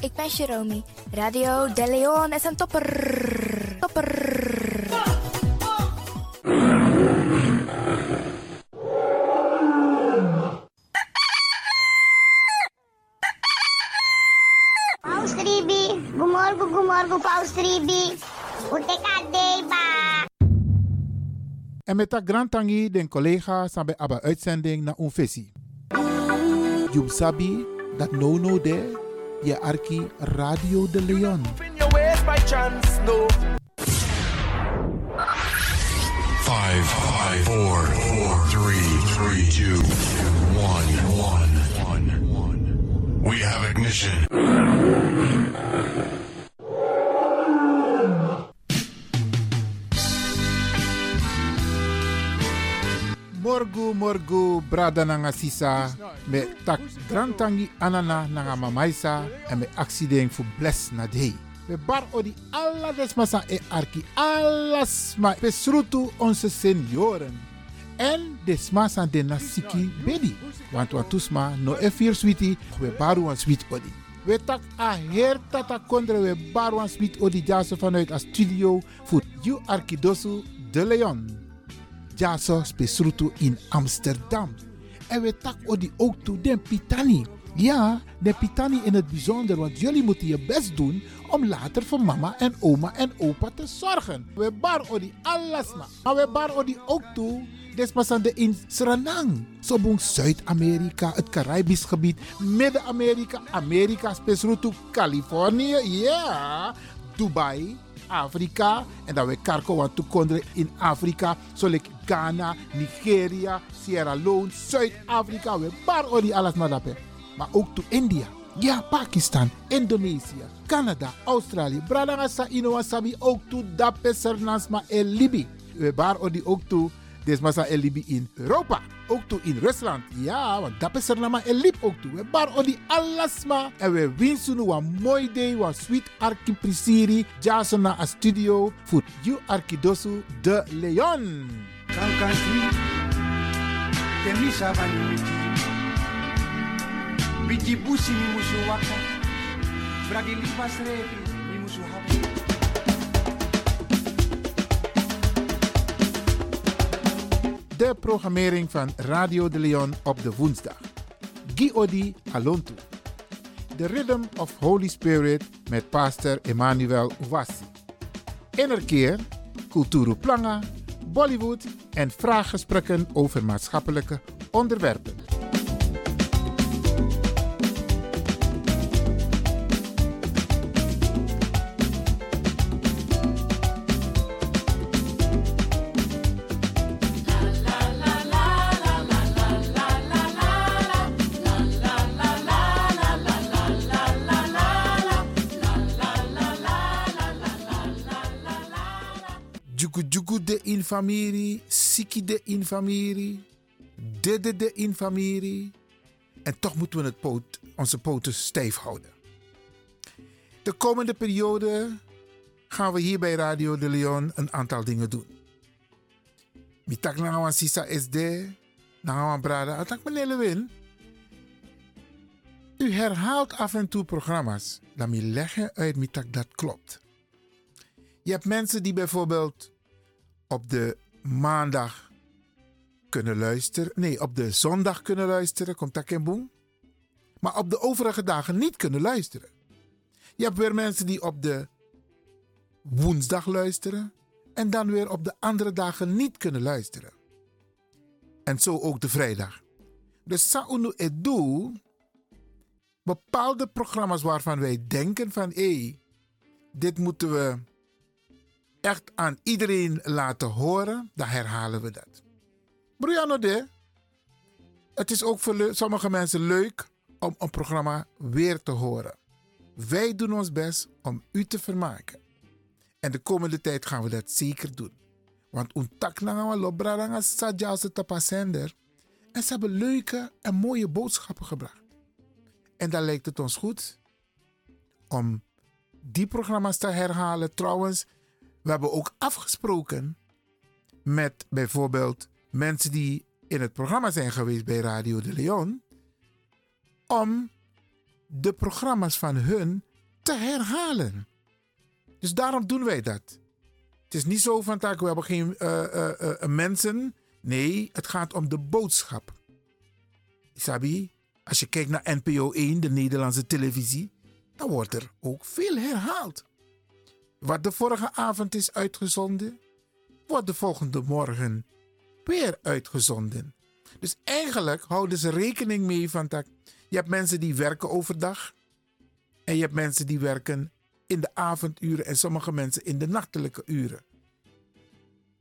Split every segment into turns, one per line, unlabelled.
ik ben Jerome. Radio De Leon is een topper. Topper.
Paus 3B, goedemorgen, goedemorgen, Paus 3B. UTKD, ba.
En met dat grand tangi den collega samen abba uitzending na un visie. Jum sabi dat no no de je arki Radio de Leon.
in your ways by chance, no.
Five, five, four, four, three, three, two, one, one, one. We have ignition.
Morgu morgu brada nanga sisa met tak grand tangi anana nanga mamaisa en met accident voor bless na day. We bar odi alla desmasa e arki allas ma pesrutu onze senioren. En desmasa de nasiki bedi. Want wat tusma no e fir sweetie we baru an sweet odi. We tak a her tata kondre we baru an sweet odi jaso vanuit a studio voor you arkidosu de Leon. Jaso Spesruto in Amsterdam. En we tak odi ook toe den Pitani. Ja, de Pitani in het bijzonder, want jullie moeten je best doen om later voor mama en oma en opa te zorgen. We bar odi alles na. Maar we bar odi ook toe, despasande in Suriname. Sobong Zuid-Amerika, het Caribisch gebied, Midden-Amerika, Amerika, Spesruto, Californië, ja. Dubai, Afrika. En dan we karko want toekonderen in Afrika. Zoals Ghana, Nigeria, Sierra Leone, Zuid-Afrika. We bar ori alles maar daarbij. Maar ook to India. Ja, Pakistan, Indonesië, Canada, Australië. Bradanga sa inoa sabi ook to dape sernasma en Libi. We bar ori ook to desmasa en Libi in Europa. Ook toe in Rusland. Ja, want dat is er nama en liep ook toe. We bar odi allasma. En we winsten een mooi day. Wa sweet arki prisiri. Jason na a studio. Voor you arkidosu de Leon.
Some country, them is a vanity. Biji busi ni musu waka, bragi lipas revi ni musu happy.
De programmering van Radio de Leon op de woensdag. Giodi Alontu. The Rhythm of Holy Spirit met pastor Emmanuel Owasi. Innerkeer, Kulturu Planga, Bollywood en vraaggesprekken over maatschappelijke onderwerpen. Juku Juku de infamirie, Siki de infamirie, Dede de infamirie. En toch moeten we het poot, onze poten stijf houden. De komende periode gaan we hier bij Radio de Leon een aantal dingen doen. Mitak nangawan sisa SD, nangawan brada, atak meneer Lewin. U herhaalt af en toe programma's. Laat me leggen uit mitak dat klopt. Je hebt mensen die bijvoorbeeld op de maandag kunnen luisteren. Nee, op de zondag kunnen luisteren. Komt dat geen boem? Maar op de overige dagen niet kunnen luisteren. Je hebt weer mensen die op de woensdag luisteren. En dan weer op de andere dagen niet kunnen luisteren. En zo ook de vrijdag. Dus Saunu Edu, bepaalde programma's waarvan wij denken van hé, dit moeten we echt aan iedereen laten horen, dan herhalen we dat. Brianna de, het is ook voor le- sommige mensen leuk om een programma weer te horen. Wij doen ons best om u te vermaken. En de komende tijd gaan we dat zeker doen. Want un tak nanga wa lobra nanga saja als het op haar zender. En ze hebben leuke en mooie boodschappen gebracht. En dan lijkt het ons goed om die programma's te herhalen. Trouwens, we hebben ook afgesproken met bijvoorbeeld mensen die in het programma zijn geweest bij Radio de Leon. Om de programma's van hun te herhalen. Dus daarom doen wij dat. Het is niet zo van, "Tak, we hebben geen eh, eh, eh, eh, mensen. Nee, het gaat om de boodschap. Isabi, als je kijkt naar NPO 1, de Nederlandse televisie, dan wordt er ook veel herhaald. Wat de vorige avond is uitgezonden, wordt de volgende morgen weer uitgezonden. Dus eigenlijk houden ze rekening mee van dat je hebt mensen die werken overdag en je hebt mensen die werken in de avonduren en sommige mensen in de nachtelijke uren.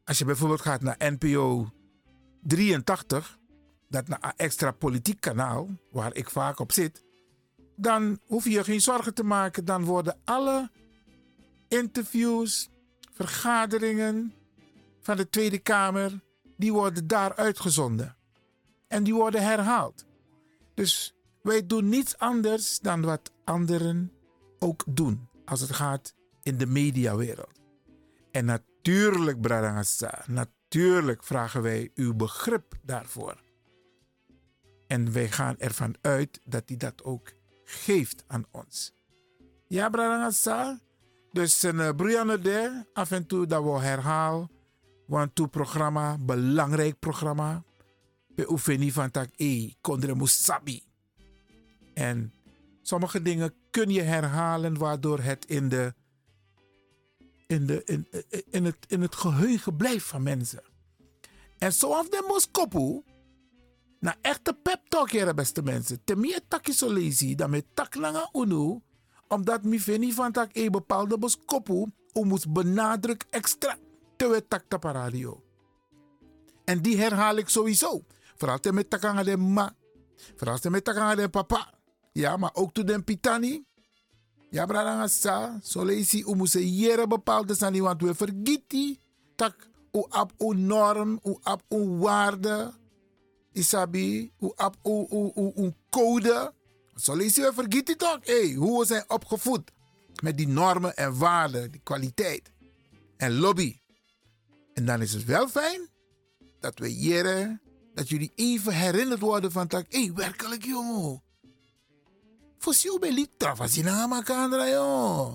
Als je bijvoorbeeld gaat naar NPO 83, dat na- extra politiek kanaal waar ik vaak op zit, dan hoef je je geen zorgen te maken. Dan worden alle interviews, vergaderingen van de Tweede Kamer, die worden daar uitgezonden. En die worden herhaald. Dus wij doen niets anders dan wat anderen ook doen als het gaat in de mediawereld. En natuurlijk, Bradangasa, natuurlijk vragen wij uw begrip daarvoor. En wij gaan ervan uit dat hij dat ook geeft aan ons. Ja, Bradangasa. Dus een uh, de, af en toe dat we herhaal. Want toe programma, belangrijk programma. We hoeven niet van tak e, kondre musabi. En sommige dingen kun je herhalen, waardoor het in, de, in, de, in, eh, in, het, in het geheugen blijft van mensen. En zoals de moskopu, na echte pep talk hier, beste mensen. Ten meer takje zo lazy, dan met tak lange unu. Omdat mi vini van tak e bepaalde boskopu, u moet benadruk extra te we tak tapa radio. En die herhaal ik sowieso. Vooral te met takanga de ma. Vooral te met takanga de papa. Ja, maar ook to den pitani. Ja, bradanga sa. Zo lazy, u moet se jere bepaalde sani, want we vergiti. Tak, u ab u norm, u ab u waarde. Isabi, hoe op, hoe, hoe, hoe, hoe code. Zo lees je, vergiet het ook. Hey, hoe we zijn opgevoed met die normen en waarden, die kwaliteit en lobby. En dan is het wel fijn dat we hier, dat jullie even herinnerd worden van dat, hey, werkelijk jongen. Voor jou ben ik travasina makandra, joh.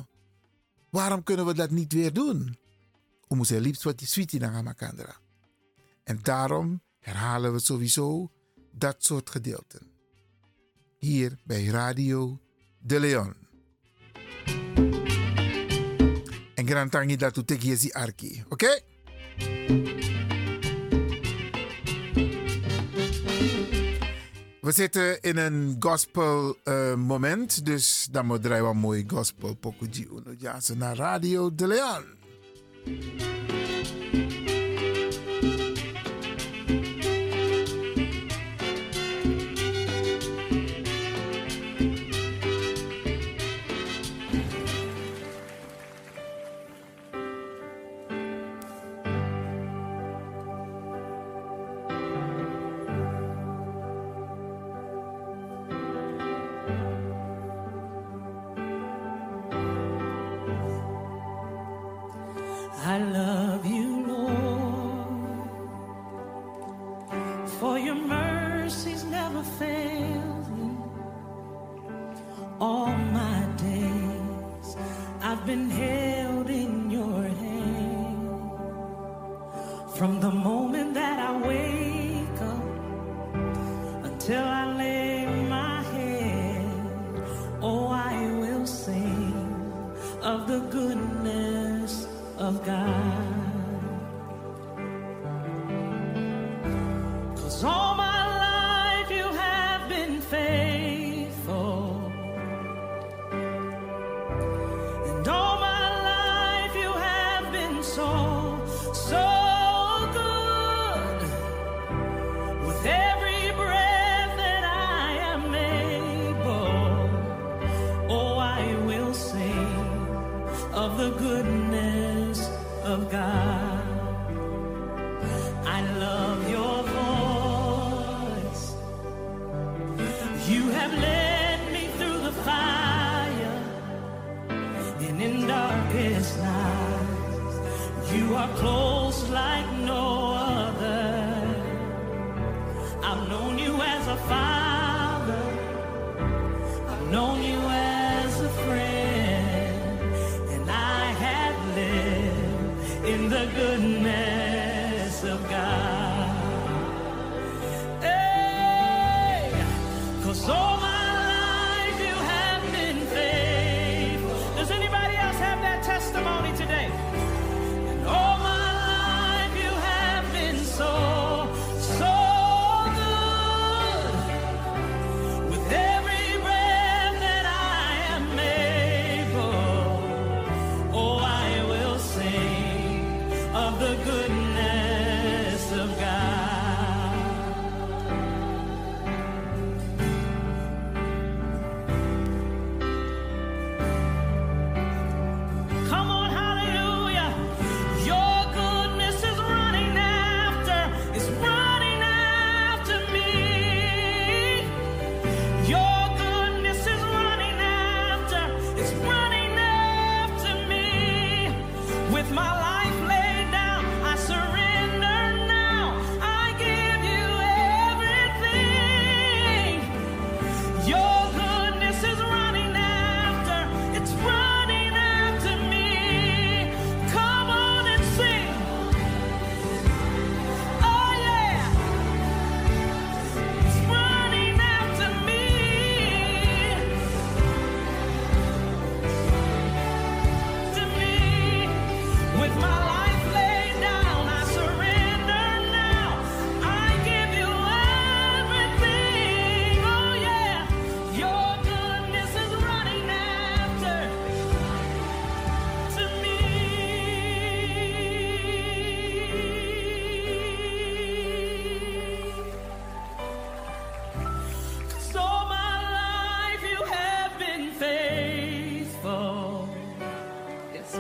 Waarom kunnen we dat niet weer doen? Om ons liefst wat die sweetie naar makandra. En daarom herhalen we sowieso dat soort gedeelten. Hier bij Radio De Leon. En grand tangi dat u tek jezi arki, oké? We zitten in een gospel eh, moment, dus dan moet draaien we een mooi gospel pokuji uno jase naar Radio De Leon.
I love you, Lord, for your mercies never fail me. All my days I've been held in your hand. From the moment that I wake up until I lay my head, oh, I will sing of the goodness of God. Cause all my life you have been faithful. And all my life you have been so, so good. With every breath that I am able, oh, I will sing of the goodness of God. I love your voice. You have led me through the fire and in darkest nights. You are close like no other. I've known you as a father. I've known you as a friend. oh, the goodness of God. Come on, hallelujah. Your goodness is running after, is running after me. Your goodness is running after, is running after me. With my life laid down, I surrender now. I give you everything. Your goodness is running after, it's running after me. Come on and sing. Oh, yeah. It's running after me. To me, with my life laid down, I surrender now. I give you everything. Oh yeah, your goodness is running after to me. So my life you have been faithful. Yes.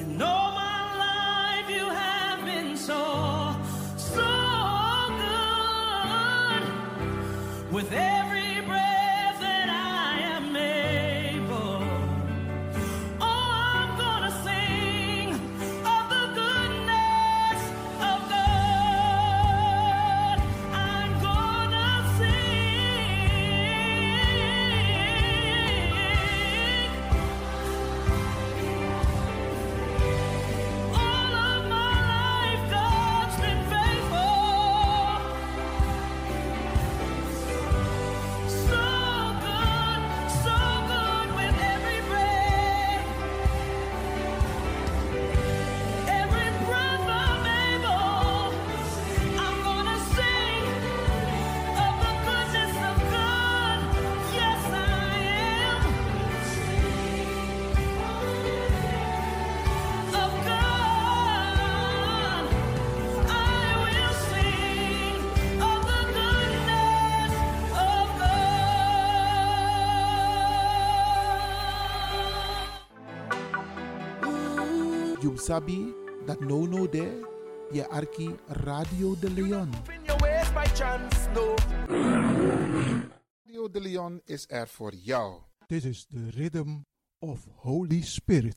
And all my life you have been so, so good. With every breath that I am able, oh, I'm gonna sing of the goodness of God. I'm gonna sing all of my life. God's been faithful. So good, so good with every breath, every breath I'm able. I'm gonna sing of the goodness of God. Yes, I am. Of God, I will sing of the goodness of God.
You sabi that no no there, ye arki Radio de Leon.
In your ways by chance, no.
Radio de Leon is er voor jou.
Dit is de Rhythm of Holy Spirit.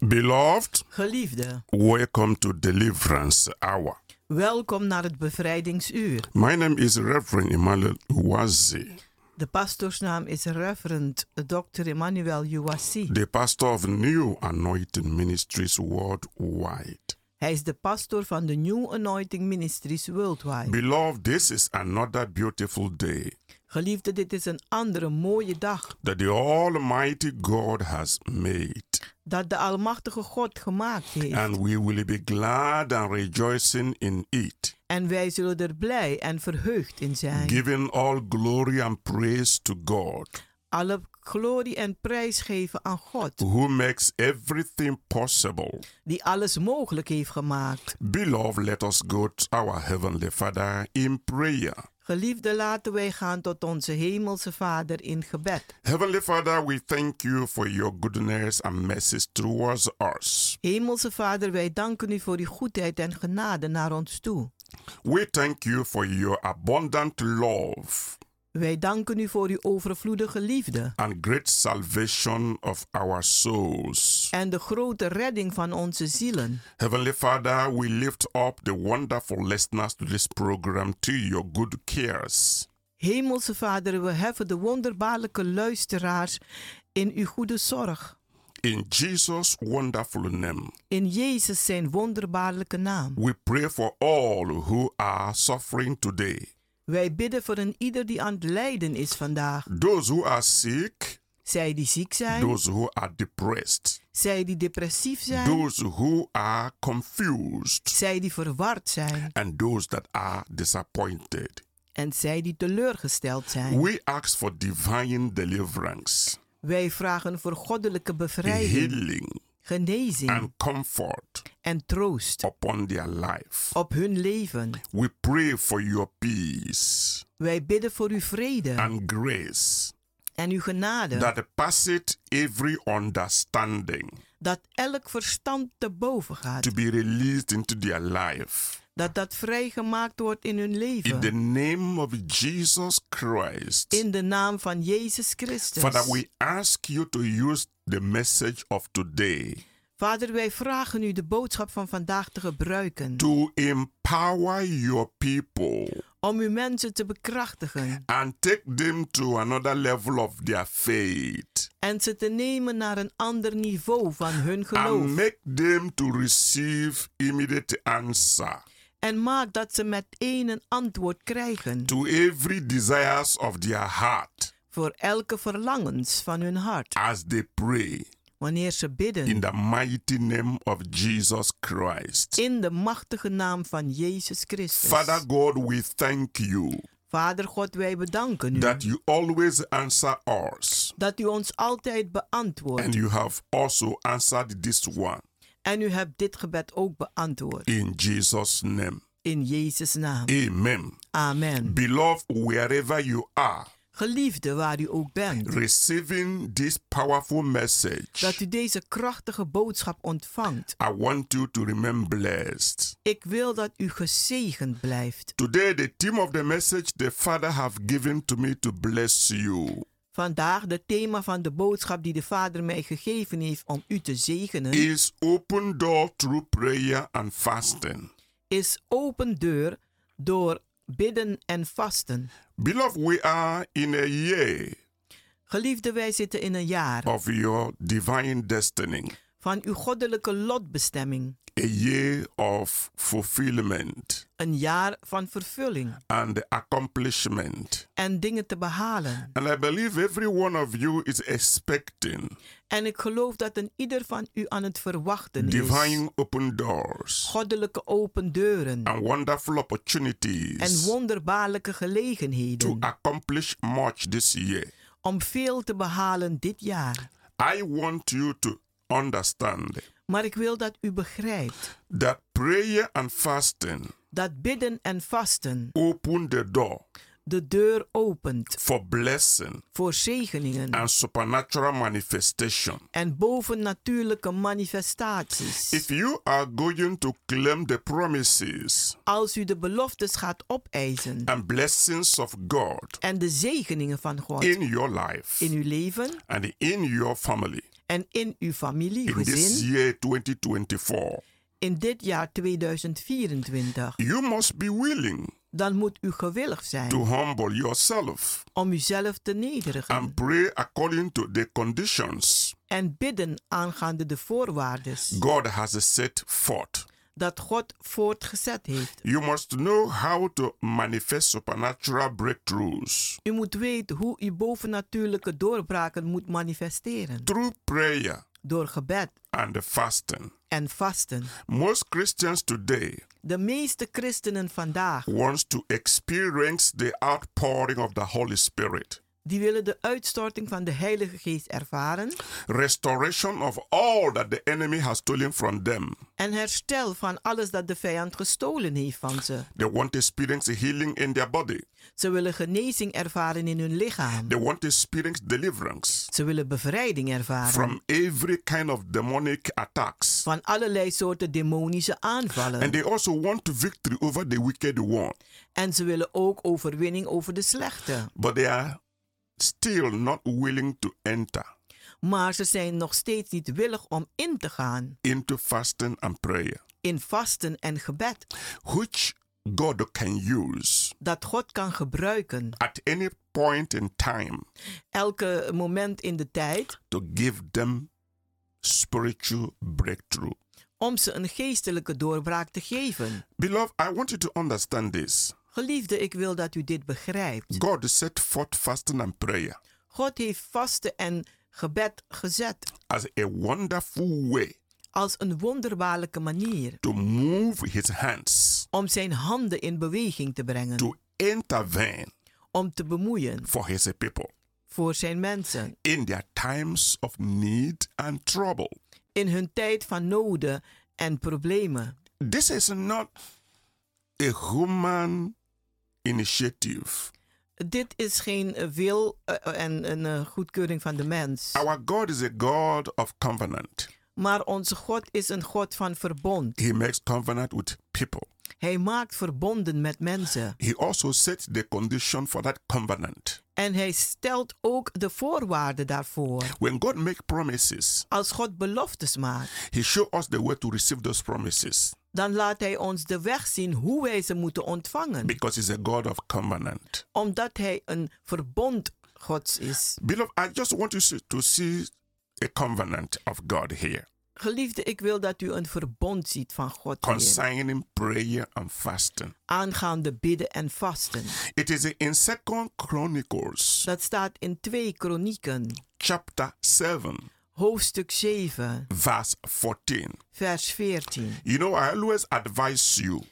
Beloved,
Geliefde,
welcome to Deliverance Hour.
welkom naar het bevrijdingsuur.
My name is Reverend Emmanuel Uwazi,
De pastoorsnaam is Reverend Dr. Emmanuel Uwasi.
the pastor of New Anointing Ministries worldwide.
Hij is de pastoor van de New Anointing Ministries Worldwide.
Beloved, this is another beautiful day
Geliefde, dit is een andere mooie dag
that the Almighty God has made,
dat de Almachtige God gemaakt heeft.
and we will be glad and rejoicing in it,
En wij zullen er blij en verheugd in zijn.
giving all glory and praise to God,
Alle glorie en prijs geven aan God,
who makes everything possible.
die alles mogelijk heeft gemaakt.
Beloved, let us go to our Heavenly Father in prayer.
Geliefde, laten wij gaan tot onze Hemelse Vader in gebed.
Heavenly Father, we thank you for your goodness and mercies towards us.
Hemelse Vader, wij danken u voor uw goedheid en genade naar ons toe.
We thank you for your abundant love
Wij danken u voor uw overvloedige liefde
and great salvation of our souls.
en de grote redding van onze zielen.
Heavenly Father, we lift up the wonderful listeners to this program to your good cares.
Hemelse Vader, we heffen de wonderbaarlijke luisteraars in uw goede zorg.
In Jesus' wonderful name,
In Jezus zijn wonderbaarlijke naam.
we pray for all who are suffering today,
Wij bidden voor een ieder die aan het lijden is vandaag.
those who are sick,
Zij die ziek zijn,
those who are depressed,
zij die depressief zijn,
those who are confused,
zij die verward zijn
and those that are disappointed.
en zij die teleurgesteld zijn.
We ask for divine deliverance,
Wij vragen voor goddelijke bevrijding,
healing,
genezing
and comfort
en troost
upon their life.
op hun leven.
We pray for your peace
Wij bidden voor uw vrede
and grace
en uw genade,
that passeth every understanding
dat elk verstand te boven gaat,
to be released into their life.
dat dat vrijgemaakt wordt in hun
In the
leven.
name of Jesus Christ,
In de naam van Jezus
Father,
Christus.
we ask you to use the message of today
Vader, wij vragen u de boodschap van vandaag te gebruiken.
to empower your people
Om uw mensen te bekrachtigen
and take them to another level of their faith
en ze te nemen naar een ander niveau van hun
and
geloof.
make them to receive immediate answer
En maak dat ze met één een antwoord krijgen
to every desires of their heart
voor elke verlangens van hun hart
as they pray
wanneer ze
in
bidden.
the mighty name of Jesus Christ.
In de machtige naam van Jezus
Father
Christus.
God, we thank you
Vader God, wij bedanken u
that you always answer us
dat u ons altijd
and
beantwoordt.
you have also answered this one
En u hebt dit gebed ook beantwoord.
in Jesus name.
In Jezus' naam.
Amen.
Mm. Amen.
Beloved, wherever you are
Geliefde waar u ook bent.
receiving this powerful
dat
message,
u deze krachtige boodschap ontvangt.
I want you to remain blessed.
Ik wil dat u gezegend blijft.
Today, the theme of the message the Father have given to me to bless you
Vandaag het thema van de boodschap die de Vader mij gegeven heeft om u te zegenen
is open door through prayer and fasting.
is open deur door bidden en vasten.
Beloved, we are in a year
Geliefde, wij zitten in een jaar
of your divine destiny,
van uw goddelijke lotbestemming,
a year of fulfillment
een jaar van vervulling
and accomplishment.
en dingen te behalen.
And I believe every one of you is expecting
En ik geloof dat een ieder van u aan het verwachten is.
divine open doors
Goddelijke open deuren
and wonderful
en
opportunities
wonderbaarlijke
to
gelegenheden.
accomplish much this year.
om veel te behalen dit jaar.
I want you to understand
Maar ik wil dat u begrijpt
that prayer and fasting
dat bidden en vasten
open the door
de deur opent
for blessing
voor zegeningen
and supernatural manifestation.
en bovennatuurlijke manifestaties.
If you are going to claim the promises
Als u de beloftes gaat opeisen
and blessings of God
en de zegeningen van God
in your life
in uw leven
and in your family
en in uw familie,
in this
gezin,
year 2024,
in dit jaar 2024,
you must be willing
dan moet u gewillig
to
zijn
humble yourself
om uzelf te nederigen
and pray according to the conditions
en bidden aangaande de voorwaarden.
God has set forth.
dat God voortgezet heeft.
You must know how to manifest supernatural breakthroughs
U moet weten hoe u bovennatuurlijke doorbraken moet manifesteren.
through prayer
Door gebed
and fasting.
en vasten.
Most Christians today
De meeste christenen vandaag
wants to experience the outpouring of the Holy Spirit
die willen de uitstorting van de Heilige Geest ervaren
restoration of all that the enemy has stolen from them.
en herstel van alles dat de vijand gestolen heeft van ze.
They want to experience healing in their body.
Ze willen genezing ervaren in hun lichaam.
They want to experience deliverance
Ze willen bevrijding ervaren
from every kind of demonic attacks.
van allerlei soorten demonische aanvallen.
And they also want victory over the wicked one.
en ze willen ook overwinning over de slechte.
But they are still not willing to enter
Maar ze zijn nog steeds niet willig om in te gaan
into fasting and prayer,
in vasten en gebed
which God can use
dat God kan gebruiken.
at any point in time
Elke moment in de tijd
to give them spiritual breakthrough.
om ze een geestelijke doorbraak te geven.
Beloved, I want you to understand this.
Geliefde, ik wil dat u dit begrijpt.
God set forth fasting and prayer
God heeft vasten en gebed gezet
as a wonderful way
als een wonderbaarlijke manier
to move his hands
om zijn handen in beweging te brengen,
to intervene
om te bemoeien
for his people
voor zijn mensen
in their times of need and trouble.
in hun tijd van noden en problemen.
This is not a human initiative.
Dit is geen eh, wil eh, en een eh, goedkeuring van de mens.
Our God is a God of covenant.
Maar onze God is een God van verbond.
He makes covenant with people.
Hij maakt verbonden met mensen.
He also sets the condition for that covenant.
En hij stelt ook de voorwaarden daarvoor.
When God makes promises,
Als God beloftes maakt,
He shows us the way to receive those promises
dan laat hij ons de weg zien hoe wij ze moeten ontvangen.
because He's a God of covenant.
Omdat hij een verbond Gods is.
Beloved, I just want you see- to see a covenant of God here
Geliefde, ik wil dat u een verbond ziet van God hier.
concerning prayer and fasting.
Aangaande bidden en vasten.
It is in Second Chronicles
Dat staat in 2 Kronieken,
chapter 7,
hoofdstuk 7,
verse 14.
vers 14.
You know, I always advise you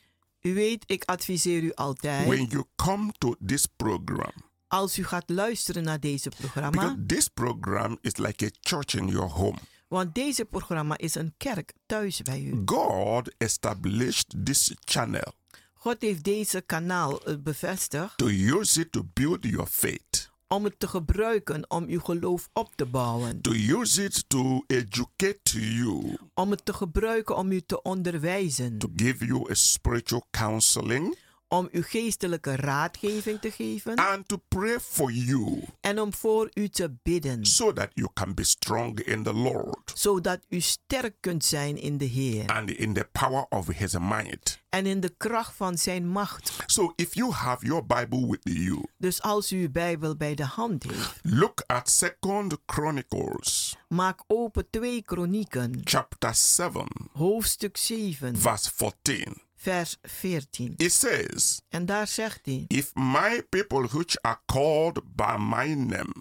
U weet, ik adviseer u altijd,
when you come to this program,
als u gaat luisteren naar deze
because
programma,
this program is like a church in your home.
want deze programma is een kerk thuis bij u.
God established this channel
God heeft deze kanaal eh, bevestigd
to use it to build your faith,
om het te gebruiken om uw geloof op te bouwen,
to use it to educate you,
om het te gebruiken om u te onderwijzen,
to give you a spiritual counseling,
om u geestelijke raadgeving te geven
and to pray for you
en om voor u te bidden,
so that you can be strong in the Lord
zodat u sterk kunt zijn in de Heer
and in the power of His might.
en in de kracht van Zijn macht.
So if you have your Bible with you,
Dus als u uw Bijbel bij de hand heeft.
Look at Second Chronicles
Maak open 2 Kronieken,
chapter 7
hoofdstuk 7,
verse 14.
vers 14.
It says,
En daar zegt hij:
If my people which are called by my name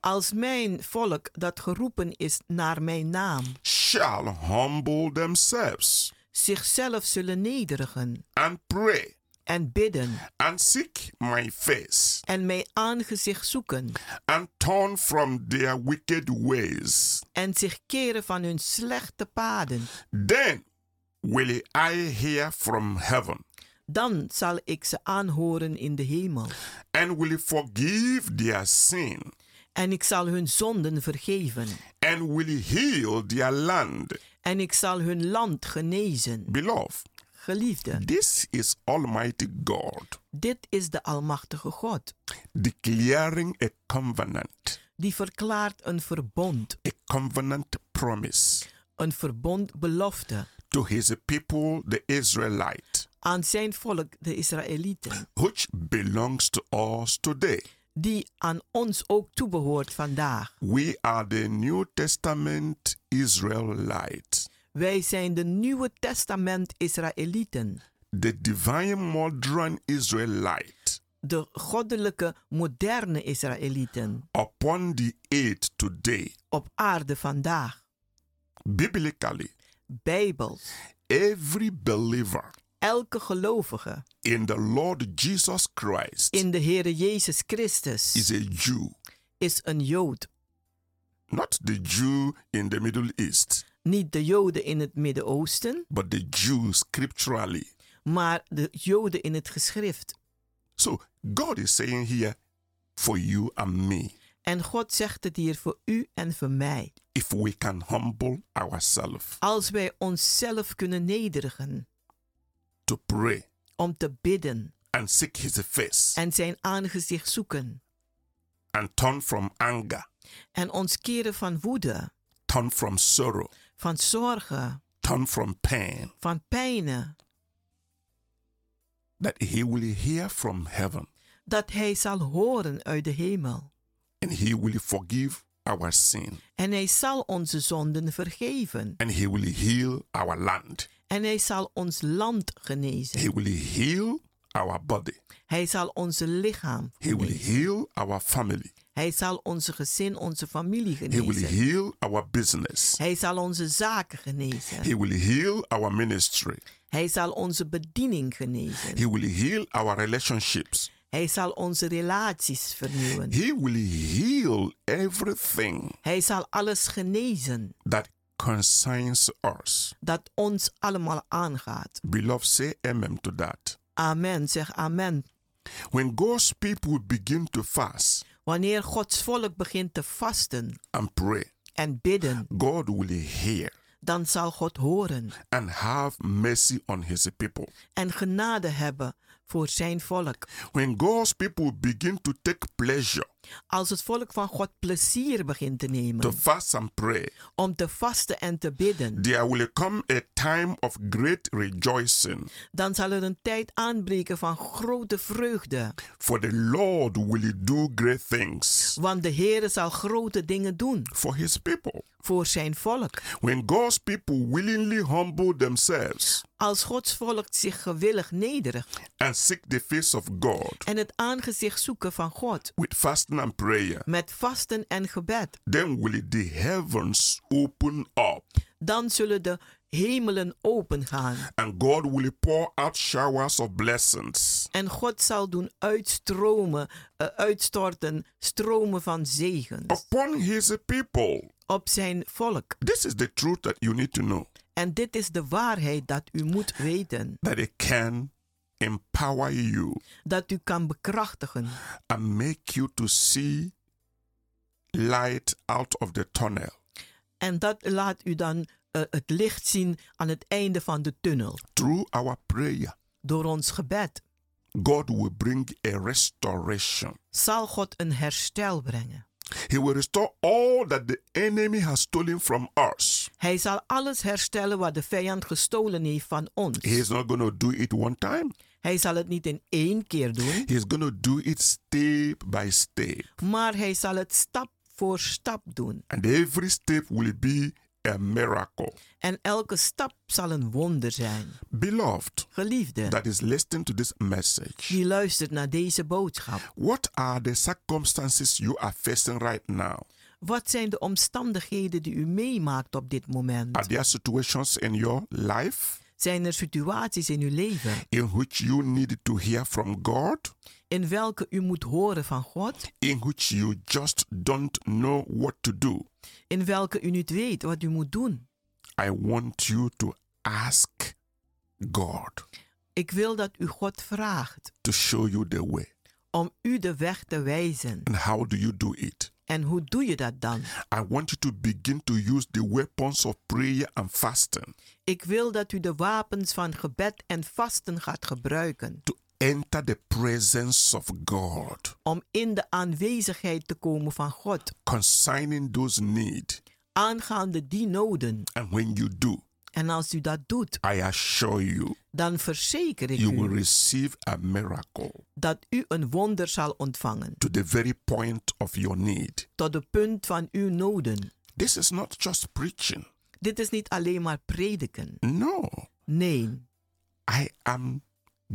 Als mijn volk dat geroepen is naar mijn naam,
shall humble themselves
zichzelf zullen nederigen
and pray
en bidden
and seek my face
en mijn aangezicht zoeken
and turn from their wicked ways,
en zich keren van hun slechte paden,
then will I hear from heaven
dan zal ik ze aanhoren in de hemel
and will forgive their sin
en ik zal hun zonden vergeven
and will heal their land.
en ik zal hun land genezen.
Beloved,
Geliefden,
This is Almighty God
dit is de Almachtige God.
declaring a covenant,
die verklaart een verbond,
a covenant promise
een verbondbelofte
to his people, the Israelite,
aan zijn volk, de Israëlieten,
which belongs to us today.
die aan ons ook toebehoort vandaag.
We are the New Testament Israelites,
Wij zijn de Nieuwe Testament Israëlieten,
the divine modern Israelite
de goddelijke moderne Israëlieten,
upon the earth today.
op aarde vandaag.
Biblically,
Bijbels,
every believer
elke gelovige
in the Lord Jesus Christ
in de Heere Jezus Christus
is a Jew.
is een Jood,
Not the Jew in the Middle East,
niet de Joden in het Midden-Oosten,
but the Jew scripturally.
maar de Joden in het geschrift.
So God is saying here, for you and me,
En God zegt het hier voor u en voor mij.
if we can humble ourselves
Als wij onszelf kunnen nederigen
to pray
om te bidden
and seek his face
en zijn aangezicht zoeken
and turn from anger,
en ons keren van woede,
turn from sorrow,
van zorgen,
turn from pain,
van pijnen,
that he will hear from heaven
dat Hij zal horen uit de hemel.
and he will forgive our sin
En Hij zal onze zonden vergeven.
and he will heal our land.
En Hij zal ons land
He
genezen.
will heal our body.
Hij zal onze lichaam
He will
genezen.
heal our family.
Hij zal onze gezin, onze familie
He will
genezen.
heal our business.
Hij zal onze zaken genezen.
He will heal our ministry.
Hij zal onze bediening genezen.
He will heal our relationships.
Hij zal onze relaties vernieuwen.
He will heal everything
Hij zal alles genezen
that concerns us.
dat ons allemaal aangaat.
Beloved, say amen to that.
Amen, zeg amen.
When God's people begin to fast
Wanneer Gods volk begint te vasten
and pray,
en bidden,
God will hear
dan zal God horen
and have mercy on his people.
en genade hebben voor zijn volk.
When God's people begin to take pleasure
Als het volk van God plezier begint te
to
nemen
fast and pray,
om te vasten en te bidden,
there will come a time of great rejoicing,
dan zal er een tijd aanbreken van grote vreugde.
for the Lord will do great things
Want de Heere zal grote dingen doen
for his people.
voor zijn volk.
When God's people willingly humble themselves
Als Gods volk zich gewillig nederigt
and seek the face of God
en het aangezicht zoeken van God
with fasting and prayer,
met vasten en gebed,
then will the heavens open up
dan zullen de hemelen opengaan
and God will pour out showers of blessings
en God zal doen uitstromen, eh, uitstorten, stromen van zegens
upon his people.
op zijn volk.
This is the truth that you need to know
En dit is de waarheid dat u moet weten,
that it can empower you
dat u kan bekrachtigen
and make you to see light out of the tunnel
En dat laat u dan eh, het licht zien aan het einde van de tunnel.
through our prayer.
Door ons gebed
God will bring a restoration.
zal God een herstel brengen.
He will restore all that the enemy has stolen from us.
Hij zal alles herstellen wat de vijand gestolen heeft van ons.
He's not going to do it one time.
Hij zal het niet in één keer doen,
He's going to do it step by step.
maar hij zal het stap voor stap doen.
And every step will be a miracle.
En elke stap zal een wonder zijn.
Beloved,
Geliefde,
that is listening to this message,
die luistert naar deze boodschap.
what are the circumstances you are facing right now?
Wat zijn de omstandigheden die u meemaakt op dit
Are
moment?
there situations in your life
Zijn er situaties in uw leven
in which you need to hear from God,
in welke u moet horen van God,
in which you just don't know what to do?
in welke u niet weet wat u moet doen.
I want you to ask God
Ik wil dat u God vraagt
to show you the way.
om u de weg te wijzen.
And how do you do it?
En hoe doe je dat dan?
I want you to begin to use the weapons of prayer and fasting
Ik wil dat u de wapens van gebed en vasten gaat gebruiken
to enter the presence of God
om in de aanwezigheid te komen van God,
concerning those needs.
aangaande die noden.
And when you do,
En als u dat doet,
I assure you,
dan verzeker ik
you will
u
receive a miracle
dat u een wonder zal ontvangen
to the very point of your need.
tot de punt van uw noden.
This is not just preaching.
Dit is niet alleen maar prediken.
No,
Nee,
I am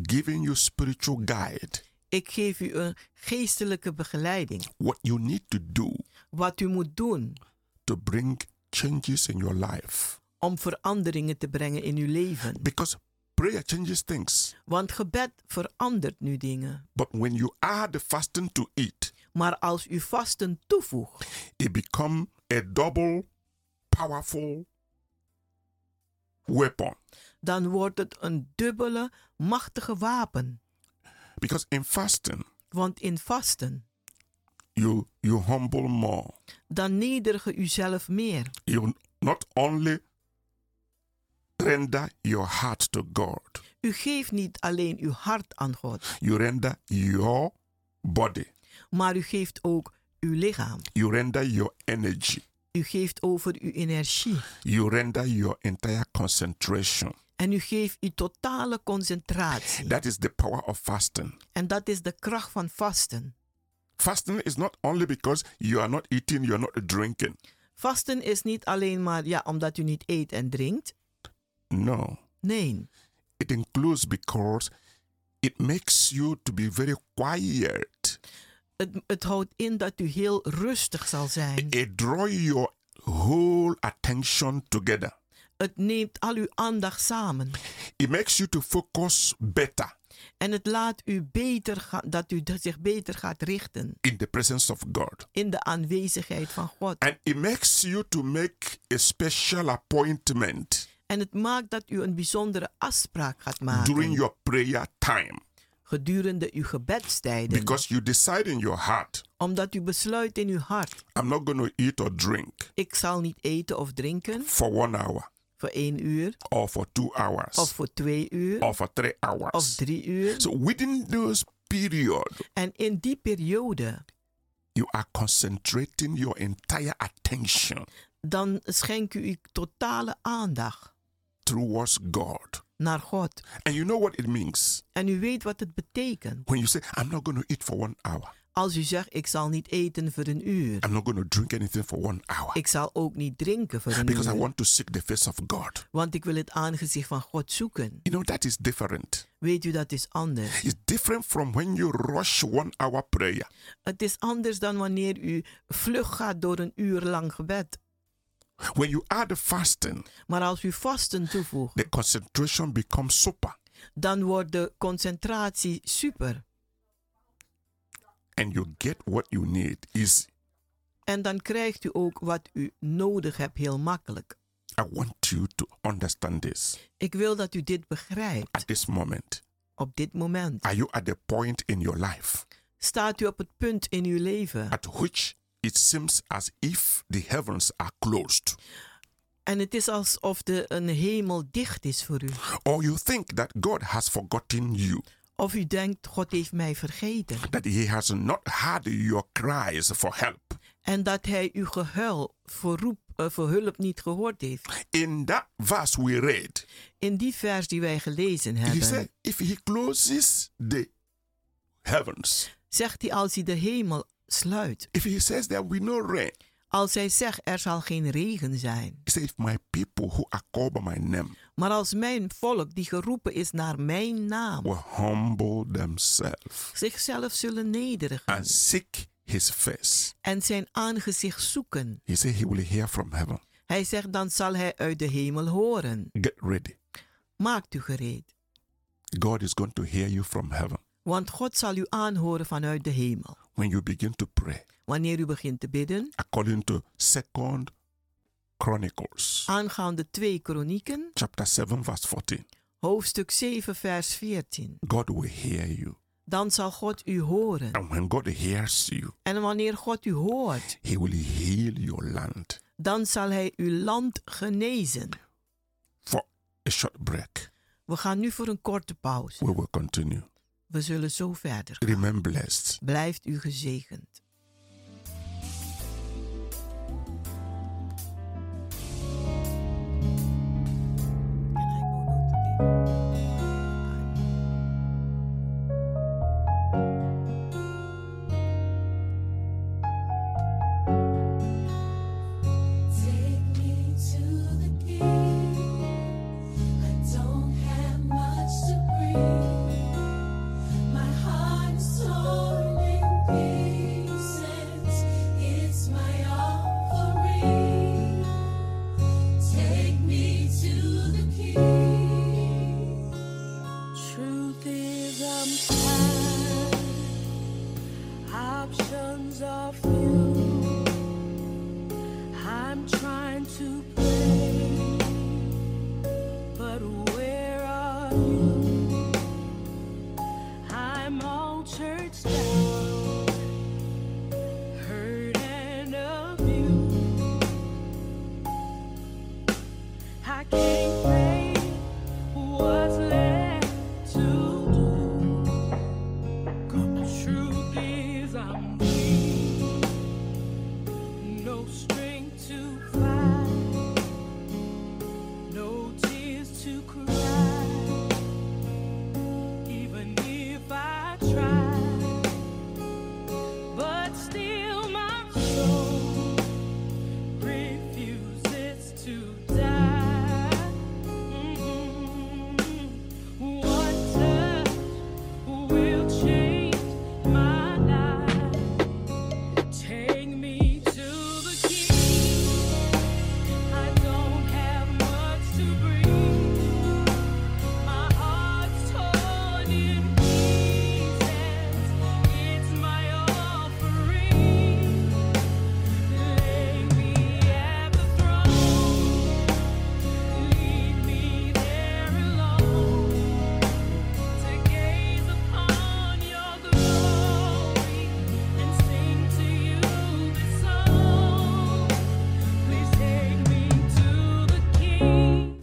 giving you spiritual guide.
Ik geef u een geestelijke begeleiding.
What you need to do
Wat u moet doen
to bring changes in your life.
om veranderingen te brengen in uw leven.
Because prayer changes things.
Want gebed verandert nu dingen.
But when you add the fasting to it,
Maar als u vasten toevoegt,
it become a double powerful weapon
dan wordt het een dubbele machtige wapen.
because in fasting
Want in vasten,
you you humble more
dan nederige uzelf meer.
you not only render your heart to god
U geeft niet alleen uw hart aan God,
you render your body
maar u geeft ook uw lichaam.
you render your energy
U geeft over uw energie.
you render your entire concentration
En u geeft uw totale concentratie.
that is the power of fasting
En dat is de kracht van vasten.
fasting is not only because you are not eating you are not drinking
Vasten is niet alleen maar ja, omdat u niet eet en drinkt.
no
Nee,
it includes because it makes you to be very quiet
het, het houdt in dat u heel rustig zal zijn.
it draw your whole attention together
Het neemt al uw aandacht samen.
it makes you to focus better
En het laat u beter gaan, dat u dat zich beter gaat richten
in the presence of god
in de aanwezigheid van God.
and it makes you to make a special appointment
En het maakt dat u een bijzondere afspraak gaat maken
during your prayer time
gedurende uw gebedstijden.
because you decide in your heart
Omdat u besluit in uw hart,
i'm not going to eat or drink
ik zal niet eten of drinken
for one hour
voor één uur
or for two hours
of voor twee uur
or for three
of
hours
drie uur.
so within those period
En in die periode,
you are concentrating your entire attention
dan schenkt u uw totale aandacht
towards God.
naar God.
And you know what it means
En u weet wat het betekent.
when you say, I'm not going to eat for one hour.
Als u zegt, ik zal niet eten voor een uur.
I'm not going to drink anything for one hour
Ik zal ook niet drinken voor een
because I
uur.
want to seek the face of God.
Want ik wil het aangezicht van God zoeken.
You know, that is different.
Weet u, dat is anders.
It's different from when you rush one hour prayer.
Het is anders dan wanneer u vlug gaat door een uur lang gebed.
When you add fasting,
Maar als u vasten toevoegt,
the concentration becomes super
dan wordt de concentratie super.
and you get what you need. Is
En dan krijgt u ook wat u nodig hebt heel makkelijk.
I want you to understand this
Ik wil dat u dit begrijpt
at this moment.
op dit moment.
Are you at the point in your life
Staat u op het punt in uw leven
at which it seems as if the heavens are closed,
en het is alsof de een hemel dicht is voor u.
or you think that God has forgotten you,
Of u denkt, God heeft mij vergeten.
that He has not heard your cries for help.
En dat hij uw gehuil voor, roep, eh, voor hulp niet gehoord heeft.
In that verse we read,
In die vers die wij gelezen
He said,
hebben,
If He closes the heavens,
zegt hij als hij de hemel sluit.
if He says there will be no rain,
Als hij zegt, er zal geen regen zijn.
He said, If my people who are called by my name
Maar als mijn volk die geroepen is naar mijn naam,
will humble themselves
zichzelf zullen nederigen
and seek His face,
en zijn aangezicht zoeken.
He said, He will hear from heaven.
Hij zegt, dan zal hij uit de hemel horen.
Get ready.
Maakt u gereed,
God is going to hear you from heaven.
want God zal u aanhoren vanuit de hemel.
when you begin to pray
Wanneer u begint te bidden,
according to second chronicles
aangaande 2 Kronieken,
chapter 7 verse 14
hoofdstuk 7, vers 14.
god will hear you
Dan zal God u horen.
and when god hears you
En wanneer God u hoort,
he will heal your land
dan zal hij uw land genezen.
for a short break
We gaan nu voor een korte pauze.
we will continue
We zullen zo verder. gaan.
remain blessed
Blijft u gezegend.
Truth is, I'm tired. Options hands are few. I'm trying to play, but where are you? I'm all churched down, hurt and abused. I can't pray what's left to do. Truth is I'm weak, no strength to fight, no tears to cry. Even if I try, but still my soul refuses to die. mm What touch will change my life. Take me to the king. I don't have much to bring. My heart's torn in pieces. It's my offering. Lay me at the throne. Leave me there alone to gaze upon your glory and sing to you this song. Please take me to the King.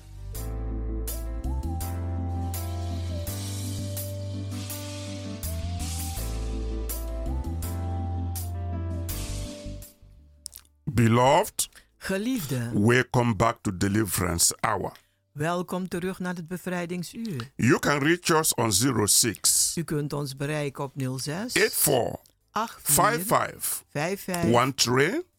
Beloved,
Geliefde,
welcome back to Deliverance Hour.
welkom terug naar het bevrijdingsuur.
You can reach us on 06
U kunt ons bereiken op 06
84
84
55
55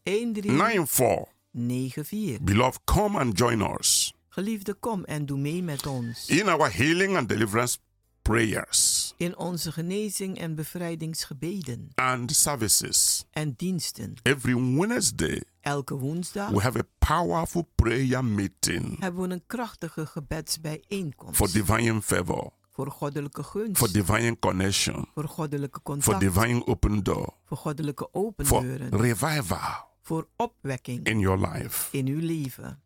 13
13
94.
94.
Beloved, come and join us
Geliefde, kom en doe mee met ons.
in our healing and deliverance prayers
In onze genezing en bevrijdingsgebeden
and services.
en diensten.
Every Wednesday,
Elke woensdag
we have a powerful prayer meeting
hebben we een krachtige
for
gebedsbijeenkomst.
divine favor,
Voor goddelijke
for
gunst.
divine connection,
Voor goddelijke
for
contact.
divine open door,
Voor goddelijke
for
opendeuren.
revival
Voor opwekking
in your life.
in uw leven.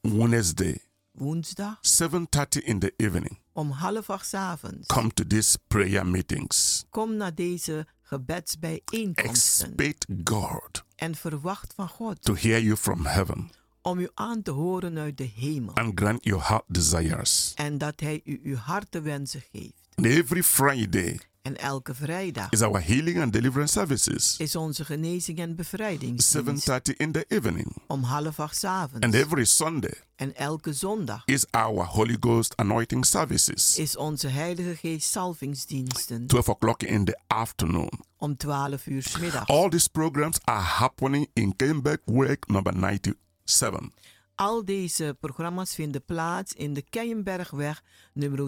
Wednesday,
Woensdag
7:30 in the evening.
om half acht 's avonds.
Come to these prayer meetings.
Kom naar deze gebedsbijeenkomsten.
Expect God
En verwacht van God
to hear you from heaven
om u aan te horen uit de hemel.
and grant your heart desires.
En dat hij u uw hartewensen geeft.
And every Friday
En elke vrijdag
is our healing and deliverance services.
is onze genezing en bevrijding
7:30 in the evening.
om half acht 's
And
avonds.
every Sunday
En elke zondag
is our Holy Ghost anointing services.
is onze Heilige Geest salvingsdiensten
12 o'clock in the afternoon.
om 12 uur 's middags.
All these programs are happening in Kenbeck Work number 97.
Al deze programma's vinden plaats in de Keienbergweg nummer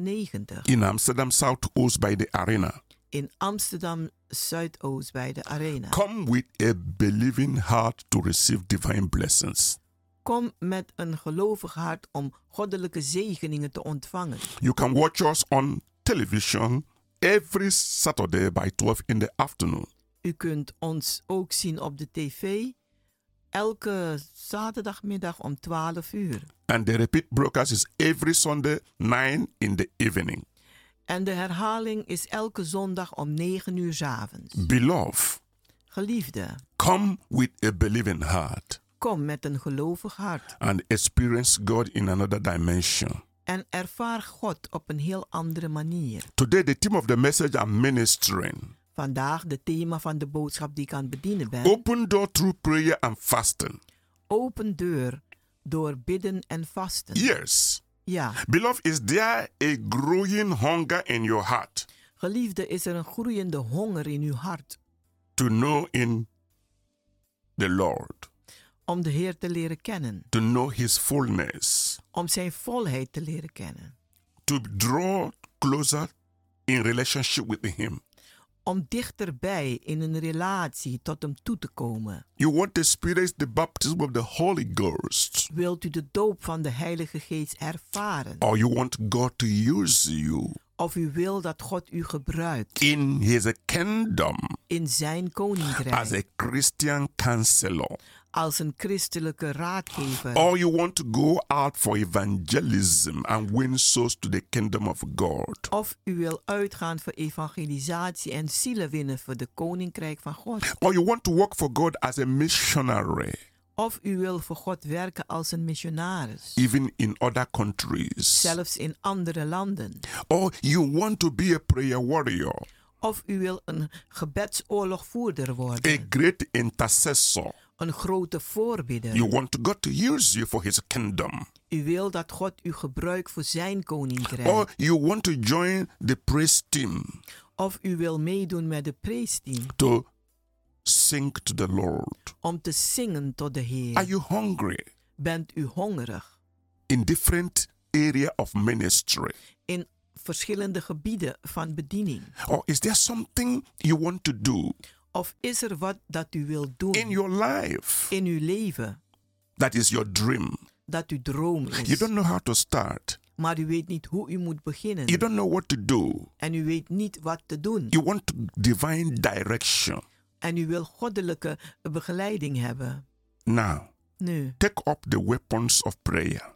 97
in Amsterdam South Oost by the arena.
in Amsterdam Zuidoost bij de Arena.
Come with a believing heart to receive divine blessings.
Kom met een gelovig hart om goddelijke zegeningen te ontvangen.
You can watch us on television every Saturday by 12 in the afternoon.
U kunt ons ook zien op de tv elke zaterdagmiddag om 12 uur.
And the repeat broadcast is every Sunday 9 in the evening.
En de herhaling is elke zondag om 9 uur 's avonds.
Mm. Beloved,
Geliefde,
come with a believing heart
kom met een gelovig hart
and experience God in another dimension.
en ervaar God op een heel andere manier.
Today, the theme of the message I'm ministering
Vandaag de thema van de boodschap die ik aan het bedienen ben.
open door through prayer and fasting.
Open deur door bidden en vasten.
Yes,
Ja,
Beloved, is there a growing hunger in your heart
geliefde, is er een groeiende honger in uw hart
to know in the Lord,
om de Heer te leren kennen,
to know His fullness,
om zijn volheid te leren kennen,
to draw closer in relationship with Him?
om dichterbij in een relatie tot hem toe te komen?
You want to experience the baptism of the Holy Ghost,
Wilt u de doop van de Heilige Geest ervaren?
or you want God to use you
of u wil dat God u gebruikt
in his kingdom
in zijn
as
koninkrijk
a Christian counselor,
als een christelijke raadgever.
or you want to go out for evangelism and win souls to the kingdom of God,
Of u wil uitgaan voor evangelisatie en zielen winnen voor de koninkrijk van God.
or you want to work for God as a missionary,
Of u wil voor God werken als een missionaris.
even in other countries,
Zelfs in andere landen.
or you want to be a prayer warrior,
Of u wil een gebedsoorlogvoerder
a
worden.
great intercessor.
Een grote
You
voorbidder.
want God to use you for his kingdom.
U wil dat God u gebruikt voor zijn
Or
koninkrijk.
you want to join the praise team
Of u wil meedoen met de praise-team
to sing to the Lord.
om te zingen tot de
Are
Heer.
you hungry
Bent u hongerig?
in different area of ministry?
In verschillende gebieden van bediening.
Or is there something you want to do
Of is er wat dat u wilt
in
doen
your life
in uw leven
that is your dream?
dat uw droom
You
is,
don't know how to start.
maar u weet niet hoe u moet
You
beginnen
don't know what to do.
en u weet niet wat te doen
You want divine direction.
en u wil goddelijke begeleiding hebben.
Now,
Nu,
take up the weapons of prayer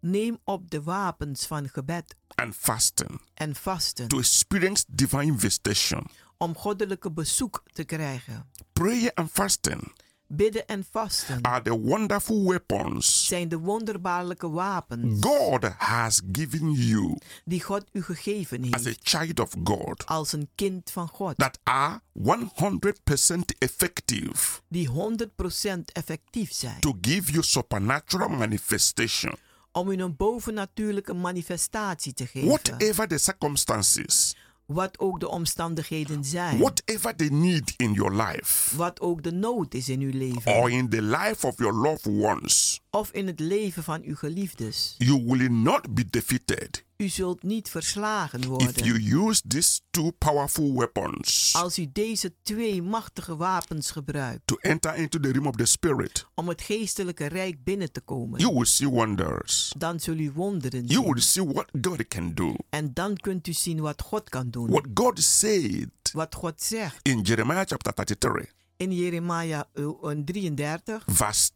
neem op de wapens van gebed
and fasting
en vasten
to experience divine visitation.
om goddelijke bezoek te krijgen.
Prayer and fasting
Bidden en vasten
are the wonderful weapons
zijn de wonderbaarlijke wapens
God has given you
die God u gegeven
as a
heeft
child of God
als een kind van God,
that are 100% effective
die 100% effectief zijn
to give you supernatural manifestation.
om u een bovennatuurlijke manifestatie te geven.
Whatever the circumstances,
Wat ook de omstandigheden zijn,
whatever the need in your life,
wat ook de nood is in uw leven
or in the life of your loved ones,
of in het leven van uw geliefdes.
you will not be defeated
U zult niet verslagen
if you
worden
use these two powerful weapons
als u deze twee machtige wapens gebruikt
to enter into the realm of the Spirit.
om het geestelijke rijk binnen te
You
komen.
will see wonders.
Dan zult u wonderen
You will
zien
see what God can do.
en dan kunt u zien wat God kan doen.
What God said
Wat God zegt
in Jeremiah chapter 33,
in Jeremia eh, 33,
verse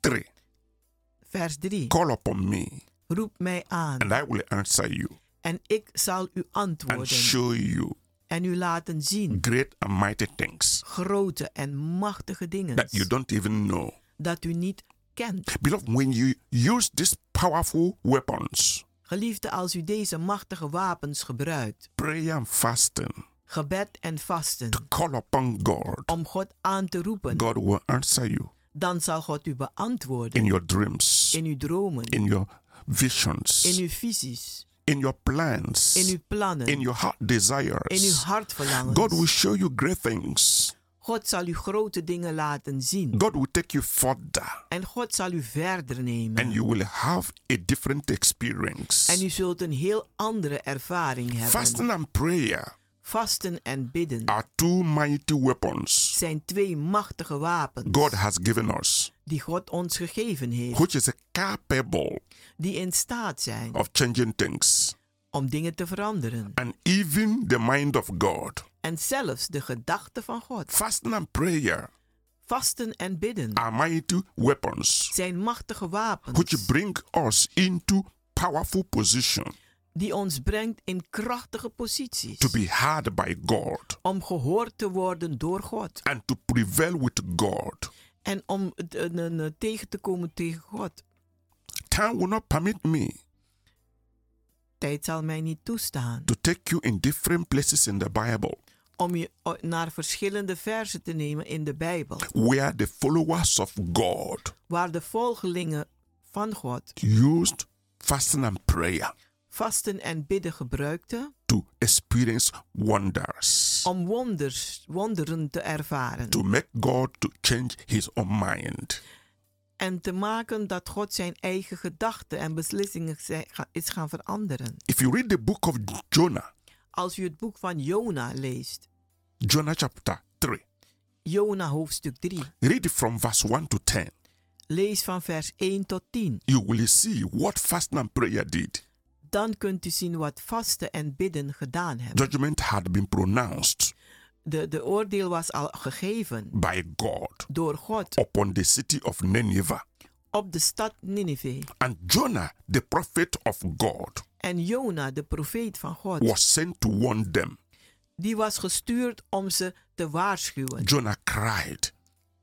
3
vers 3.
Call upon me,
Roep mij aan
and I will answer you
en ik zal u
and
antwoorden.
show you
en u laten zien
great and mighty things
grote en machtige dingen
that Nou, you don't even know.
dat u niet kent.
Beloved, when you use these powerful weapons,
Geliefde, als u deze machtige wapens gebruikt,
prayer and fasting,
gebed en vasten,
to call upon God,
om God aan te roepen,
God will answer you
dan zal God u beantwoorden
in your dreams,
in uw dromen,
in your
in
visions,
uw visies,
in your
in
plans,
uw plannen,
in your heart
in uw
desires. God will
hartverlangens.
show you great things.
God zal u grote dingen laten zien
God will take you further
en God zal u verder
and
nemen.
you will have a different experience.
En u zult een heel andere ervaring hebben.
Fasting and prayer
Vasten en bidden
are two mighty weapons
zijn twee machtige wapens.
God has given us,
die God ons gegeven heeft,
which is capable
die in staat zijn
of changing things
om dingen te veranderen.
and even the mind of God.
En zelfs de gedachten van God.
Fasting and prayer
Vasten en bidden
are mighty weapons
zijn machtige
which
wapens
bring us into powerful position
die ons brengt in krachtige posities
to be heard by God
om gehoord te worden door God
and to prevail with God.
en om het, eh, eh, eh, tegen te komen tegen God.
Time will not permit me
Tijd zal mij niet toestaan
to take you in different places in the Bible
om je eh, naar verschillende versen te nemen in de Bijbel,
where the followers of God
waar de volgelingen van God
used fasting and prayer
vasten en bidden gebruikten
to experience wonders,
om wonders, wonderen te ervaren
to make God to change his own mind.
en te maken dat God zijn eigen gedachten en beslissingen zijn- ga- is gaan veranderen.
If you read the book of Jonah,
Als u het boek van Jona leest,
Jonah chapter 3,
Jona hoofdstuk 3,
read from verse 1 to 10,
lees van vers 1 tot 10,
you will see what fasting and prayer did
dan kunt u zien wat vasten en bidden gedaan hebben.
Judgment had been pronounced
De, de oordeel was al gegeven
by God
door God
upon the city of Nineveh.
op de stad Nineveh.
And Jonah, the prophet of God,
En Jona, de profeet van God,
was sent to warn them.
die was gestuurd om ze te waarschuwen.
Jonah cried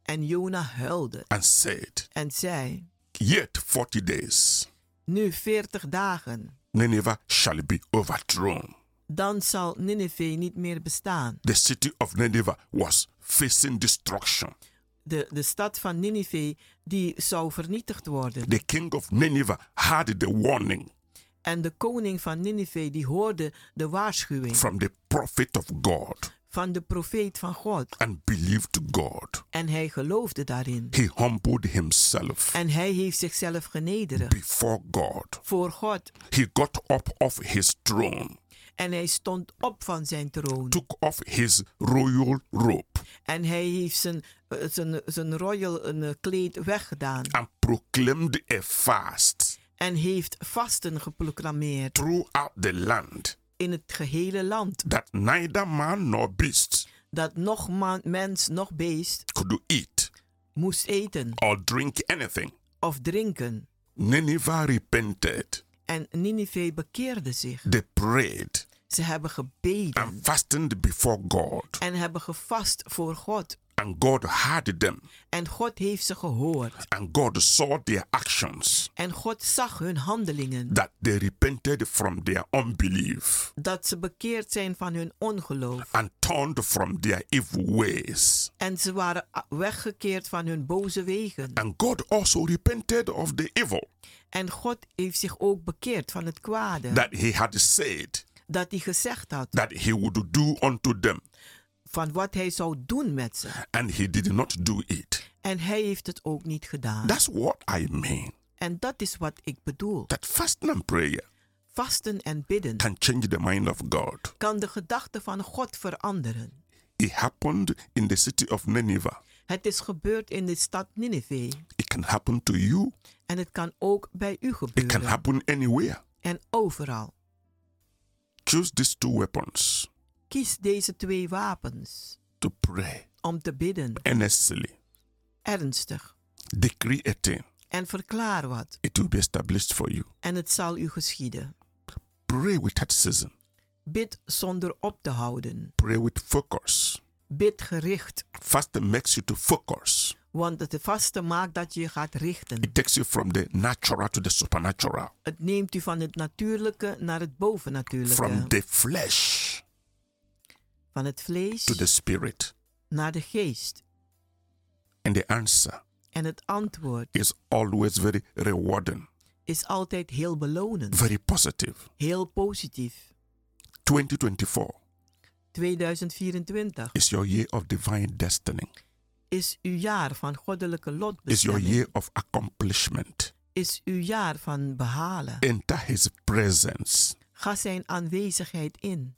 En Jona huilde
and said,
en zei,
Yet 40 days,
nu veertig dagen,
Nineveh shall be overthrown.
dan zal Nineveh niet meer bestaan.
The city of Nineveh was facing destruction.
De, de stad van Nineveh, die zou vernietigd worden.
The king of Nineveh had the warning
En de koning van Nineveh, die hoorde de waarschuwing
from the prophet of God
van de profeet van God.
and believed God.
En hij geloofde daarin.
He humbled himself
En hij heeft zichzelf genederd
before God.
voor God.
He got up off his throne,
En hij stond op van zijn troon.
took off his royal robe,
En hij heeft zijn, eh, zijn, zijn royal eh, kleed weggedaan.
and proclaimed a fast
En heeft vasten geproclameerd
throughout the land
in het gehele land.
that neither man nor beast
Dat nog man, mens, nog beest
could eat
moest eten
or drink anything.
of drinken.
Nineveh repented,
En Nineveh bekeerde zich.
they prayed
Ze hebben gebeden
and fasted before God,
en hebben gevast voor God.
and God heard them,
En God heeft ze gehoord.
and God saw their actions
En God zag hun handelingen.
that they repented from their unbelief.
Dat ze bekeerd zijn van hun ongeloof.
and turned from their evil ways.
En ze waren a- weggekeerd van hun boze wegen.
And God also repented of the evil
En God heeft zich ook bekeerd van het kwade.
that he had said
Dat hij gezegd had
that he would do unto them,
van wat hij zou doen met ze.
and he did not do it.
En hij heeft het ook niet gedaan.
That's what I mean.
En dat is wat ik bedoel.
That fasting and prayer
Vasten en bidden
can change the mind of God.
kan de gedachten van God veranderen.
It happened in the city of Nineveh.
Het is gebeurd in de stad Nineveh.
It can happen to you.
En het kan ook bij u
It can
gebeuren.
happen anywhere.
En overal.
Choose these two weapons
Kies deze twee wapens
to pray
om te bidden.
earnestly,
Ernstig.
decree a thing.
En verklaar wat.
It will be established for you.
En het zal u geschieden.
Pray without season.
Bid zonder op te houden.
Pray with focus.
Bid gericht.
Fasting makes you to focus.
Want het vaste maakt dat je gaat richten.
It takes you from the natural to the supernatural,
Het neemt u van het natuurlijke naar het
from
bovennatuurlijke.
the flesh
Van het vlees
to the spirit.
naar de geest.
And the answer
En het antwoord
is always very rewarding,
is altijd heel belonend.
very positive.
Heel positief.
2024
2024
is your year of divine destiny,
is uw jaar van goddelijke
is your
lotbestemming.
year of accomplishment.
Is uw jaar van behalen.
Enter his presence
Ga zijn aanwezigheid in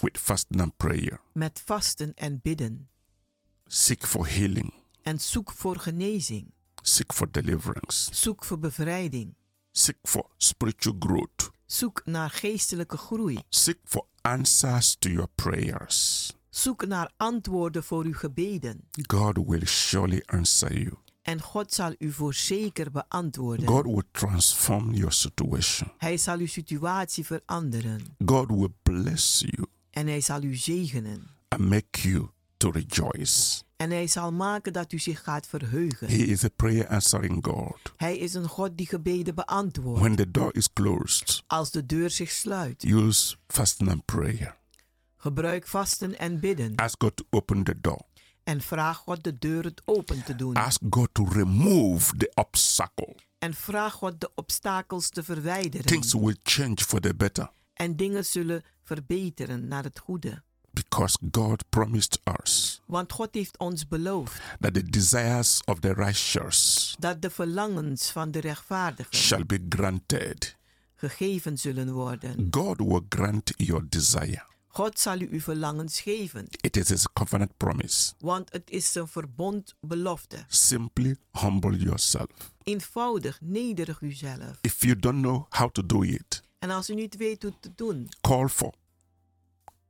with fasting and prayer.
met vasten en bidden.
Seek for healing,
En zoek voor genezing.
seek for deliverance,
Zoek voor bevrijding.
seek for spiritual growth,
Zoek naar geestelijke groei.
seek for answers to your prayers.
Zoek naar antwoorden voor uw gebeden.
God will surely answer you.
En God zal u voor zeker beantwoorden.
God will transform your situation.
Hij zal uw situatie veranderen.
God will bless you
En hij zal u zegenen.
and make you to rejoice.
En hij zal maken dat u zich gaat verheugen.
He is a prayer answering God.
Hij is een God die gebeden beantwoordt.
When the door is closed,
Als de deur zich sluit,
use fasting and prayer.
gebruik vasten en bidden.
Ask God to open the door.
En vraag God de deur het open te doen.
Ask God to remove the obstacle.
En vraag God de obstakels te verwijderen.
Things will change for the better
En dingen zullen verbeteren naar het goede.
because God promised us
Want God heeft ons beloofd
that the desires of the righteous
dat de verlangens van de rechtvaardigen
shall be granted.
gegeven zullen worden.
God will grant your desire.
God zal u uw verlangens geven,
It is His covenant promise.
want het is een verbond belofte.
Simply humble yourself.
Eenvoudig, nederig uzelf.
If you don't know how to do it,
En als u niet weet hoe te doen,
Call for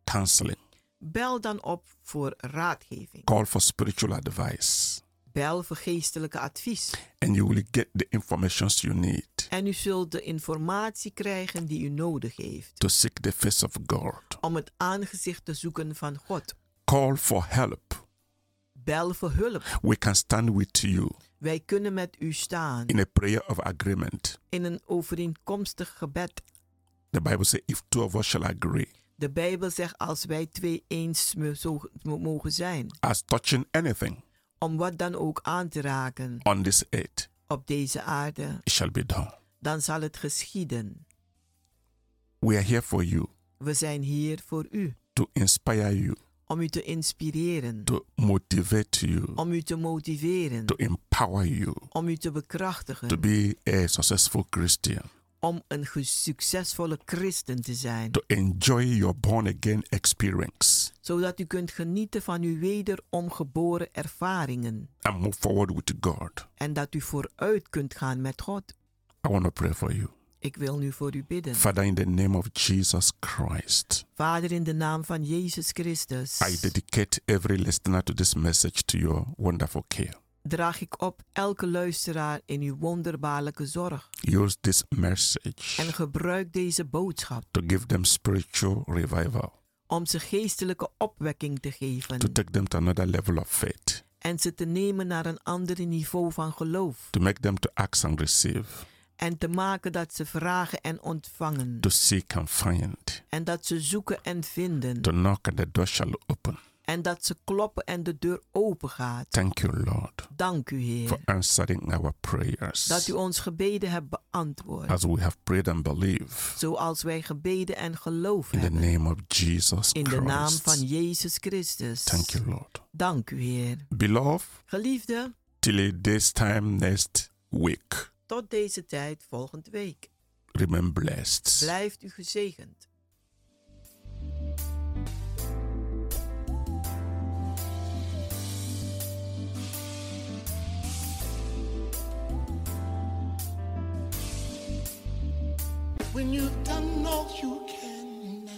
counseling.
bel dan op voor raadgeving.
Call for spiritual advice.
Bel voor geestelijke advies.
And you will get the informations you need
En u zult de informatie krijgen die u nodig heeft
to seek the face of God.
om het aangezicht te zoeken van God.
Call for help.
Bel voor hulp.
We can stand with you
Wij kunnen met u staan
in a prayer of agreement.
in een overeenkomstig gebed.
The Bible says, if two of us shall agree,
De Bijbel zegt als wij twee eens me- zo mo- mogen zijn,
as touching anything
om wat dan ook aan te raken
on this earth,
op deze aarde,
it shall be done.
dan zal het geschieden.
We are here for you,
We zijn hier voor u,
to inspire you,
om u te inspireren,
to motivate you,
om u te motiveren,
to empower you
om u te
to
bekrachtigen,
be a successful Christian,
om een ge- succesvolle christen te zijn,
to enjoy your born again experience
zodat u kunt genieten van uw wederom geboren ervaringen
and move forward with God.
en dat u vooruit kunt gaan met God.
I want to pray for you.
Ik wil nu voor u bidden.
Father, in the name of Jesus Christ,
Vader, in de naam van Jezus Christus.
I dedicate every listener to this message to your wonderful care.
draag ik op elke luisteraar in uw wonderbaarlijke zorg
Use this message
en gebruik deze boodschap
to give them spiritual revival,
om ze geestelijke opwekking te
to
geven
take them to another level of faith,
en ze te nemen naar een ander niveau van geloof
to make them to ask and receive,
en te maken dat ze vragen en ontvangen
to seek and find,
en dat ze zoeken en vinden
to knock and the door shall open.
en dat ze kloppen en de deur open gaat.
Thank you, Lord,
Dank u
for
Heer
answering our
dat
prayers
u ons gebeden hebt beantwoord
as we have prayed and believed
zoals wij gebeden en geloof
in the
hebben
name of Jesus
in de naam van
Christ.
Jezus Christus.
Thank you, Lord.
Dank u Heer.
Beloved,
Geliefde,
till this time next week,
tot deze tijd volgende week.
remain blessed.
Blijft u gezegend.
when you've done all you can.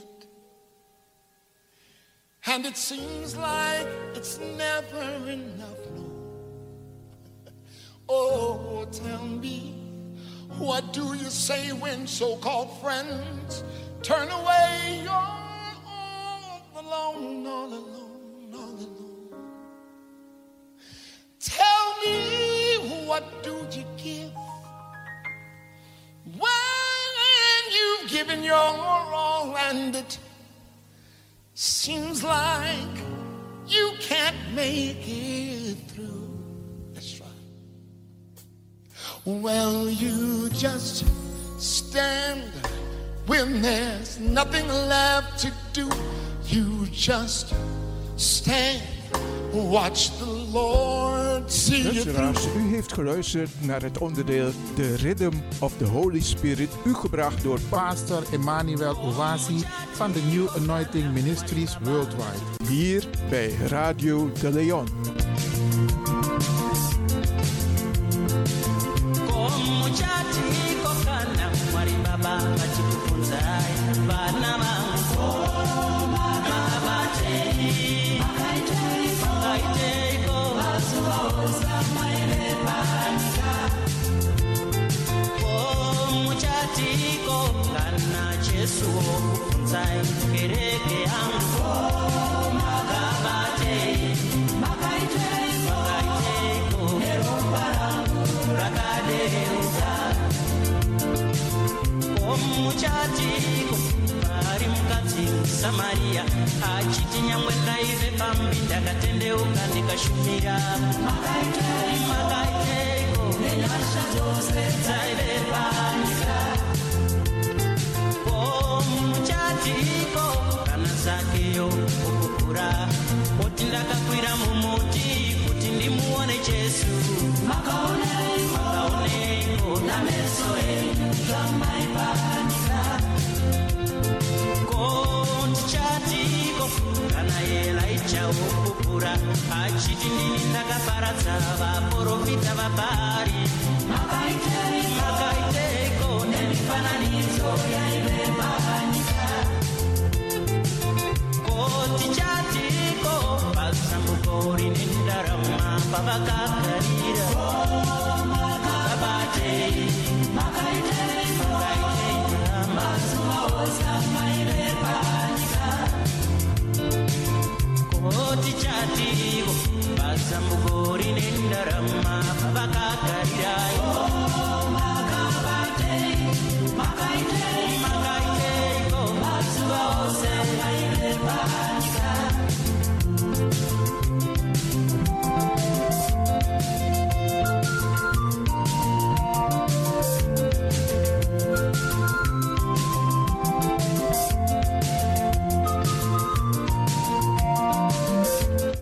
And it seems like it's never enough, no. Oh, tell me, what do you say when so called friends turn away? You're all alone, all alone, all alone. Tell me, what do you give? When you've given your all and it seems like you can't make it through. That's right. Well, you just stand when there's nothing left to do. You just stand, watch the Lord see you through.
Luisteraars, u heeft geluisterd naar het onderdeel The Rhythm of the Holy Spirit, u gebracht door
Pastor Emmanuel Owasi van de New Anointing Ministries Worldwide.
hier bij Radio de Leon.